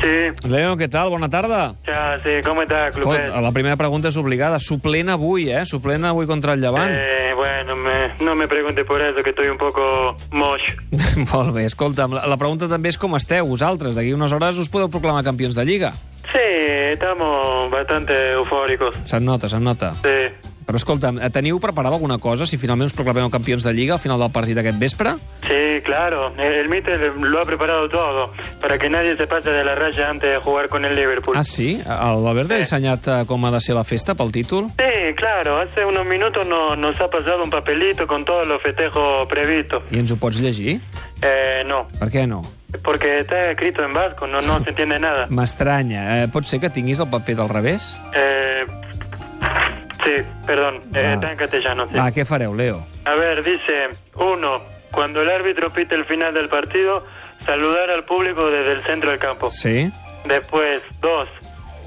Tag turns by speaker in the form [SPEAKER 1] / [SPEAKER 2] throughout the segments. [SPEAKER 1] Sí,
[SPEAKER 2] Leo, què tal? Bona tarda.
[SPEAKER 1] ja, sí, com està, Clubet?
[SPEAKER 2] Escolta, la primera pregunta és obligada. Suplent avui, eh? Suplent avui contra el Llevant.
[SPEAKER 1] Eh, bueno, me, no me pregunte por eso, que estoy un poco mosh.
[SPEAKER 2] Molt bé, escolta'm, la, la pregunta també és com esteu vosaltres. D'aquí unes hores us podeu proclamar campions de Lliga.
[SPEAKER 1] Sí, estamos bastante eufóricos.
[SPEAKER 2] Se'n nota, se'n nota.
[SPEAKER 1] Sí.
[SPEAKER 2] Però escolta'm, eh, teniu preparada alguna cosa si finalment us proclameu campions de Lliga al final del partit aquest vespre?
[SPEAKER 1] Sí, claro, el, el míster lo ha preparado todo, para que nadie se pase de la raya antes de jugar con el Liverpool.
[SPEAKER 2] Ah, sí? El Valverde ha
[SPEAKER 1] Sí.
[SPEAKER 2] dissenyat eh, com ha de ser la festa pel títol?
[SPEAKER 1] Sí, claro, hace unos minutos no- nos ha pasado un papelito con todos los festejos previstos.
[SPEAKER 2] I ens ho pots llegir?
[SPEAKER 1] Eh, no,
[SPEAKER 2] Per què no?
[SPEAKER 1] porque está escrito en vasco, no, no se entiende nada.
[SPEAKER 2] M'estranya. Eh, pot ser que tinguis el paper del revés?
[SPEAKER 1] Eh, sí, perdón, eh,
[SPEAKER 2] Ah.
[SPEAKER 1] está en castellano, sí.
[SPEAKER 2] Va, què fareu, Leo?
[SPEAKER 1] A ver, dice, uno, cuando el árbitro pite el final del partido, saludar al público desde el centro del campo.
[SPEAKER 2] Sí?
[SPEAKER 1] Después, dos,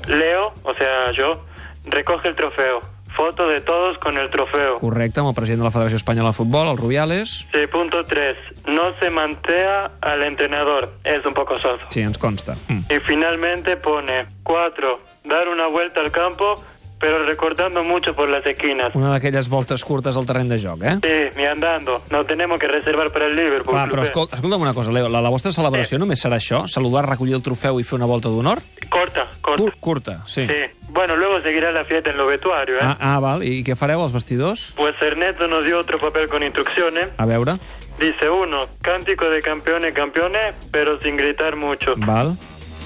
[SPEAKER 1] Leo, o sea, yo, recoge el trofeo. Foto de todos con el trofeo.
[SPEAKER 2] Correcte, amb el president de la Federació Espanyola de Futbol, el Rubiales.
[SPEAKER 1] Sí, punto tres, no se mantea al entrenador. Es un poco soso.
[SPEAKER 2] Sí, ens consta. Mm.
[SPEAKER 1] Y finalmente pone, cuatro, dar una vuelta al campo, pero recortando mucho por las esquinas.
[SPEAKER 2] Una d'aquelles voltes curtes al terreny de joc, eh?
[SPEAKER 1] Sí, ni andando. No tenemos que reservar para el Liverpool.
[SPEAKER 2] Va, però
[SPEAKER 1] Lupe.
[SPEAKER 2] escol escolta'm una cosa, Leo, la, la vostra celebració només serà això? Saludar, recollir el trofeu i fer una volta d'honor?
[SPEAKER 1] Corta, corta.
[SPEAKER 2] Cur curta, sí.
[SPEAKER 1] Sí. Bueno, luego seguirá la fiesta en los vestuarios, ¿eh?
[SPEAKER 2] Ah, ah, val, i què fareu als vestidors?
[SPEAKER 1] Pues Ernesto nos dio otro papel con instrucciones.
[SPEAKER 2] A veure,
[SPEAKER 1] Dice uno, cántico de campeones, campeones, pero sin gritar mucho.
[SPEAKER 2] val.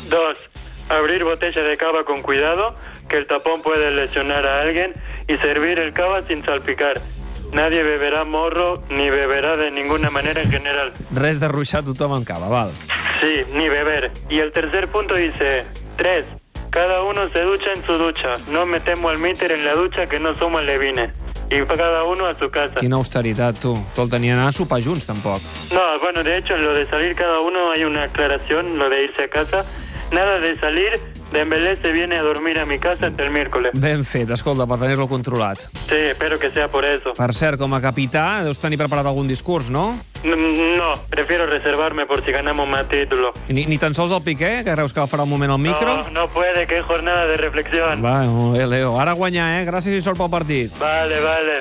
[SPEAKER 1] Dos, abrir botellas de cava con cuidado, que el tapón puede lesionar a alguien, y servir el cava sin salpicar. Nadie beberá morro, ni beberá de ninguna manera en general.
[SPEAKER 2] Res de ruixar tothom en cava, val.
[SPEAKER 1] Sí, ni beber. Y el tercer punto dice, tres, cada uno se ducha en su ducha. No metemos al míter en la ducha que no somos levines. Y cada uno a su casa.
[SPEAKER 2] Quina austeritat, tu. Escolta, ni anar a sopar junts, tampoc.
[SPEAKER 1] No, bueno, de hecho, en lo de salir cada uno hay una aclaración, lo de irse a casa. Nada de salir, Dembélé se viene a dormir a mi casa hasta el miércoles.
[SPEAKER 2] Ben fet, escolta, per tenir-lo controlat.
[SPEAKER 1] Sí, espero que sea por eso.
[SPEAKER 2] Per cert, com a capità, deus tenir preparat algun discurs, no?
[SPEAKER 1] Mm, No, prefiero reservarme por si ganamos más títulos.
[SPEAKER 2] Ni, ni tan sols el Piqué, que creus que agafarà un moment al micro?
[SPEAKER 1] No, no puede, que es jornada de reflexión.
[SPEAKER 2] eh? Va, molt bé, Leo. Ara guanyar, eh? Gràcies i sort pel partit.
[SPEAKER 1] Vale, vale.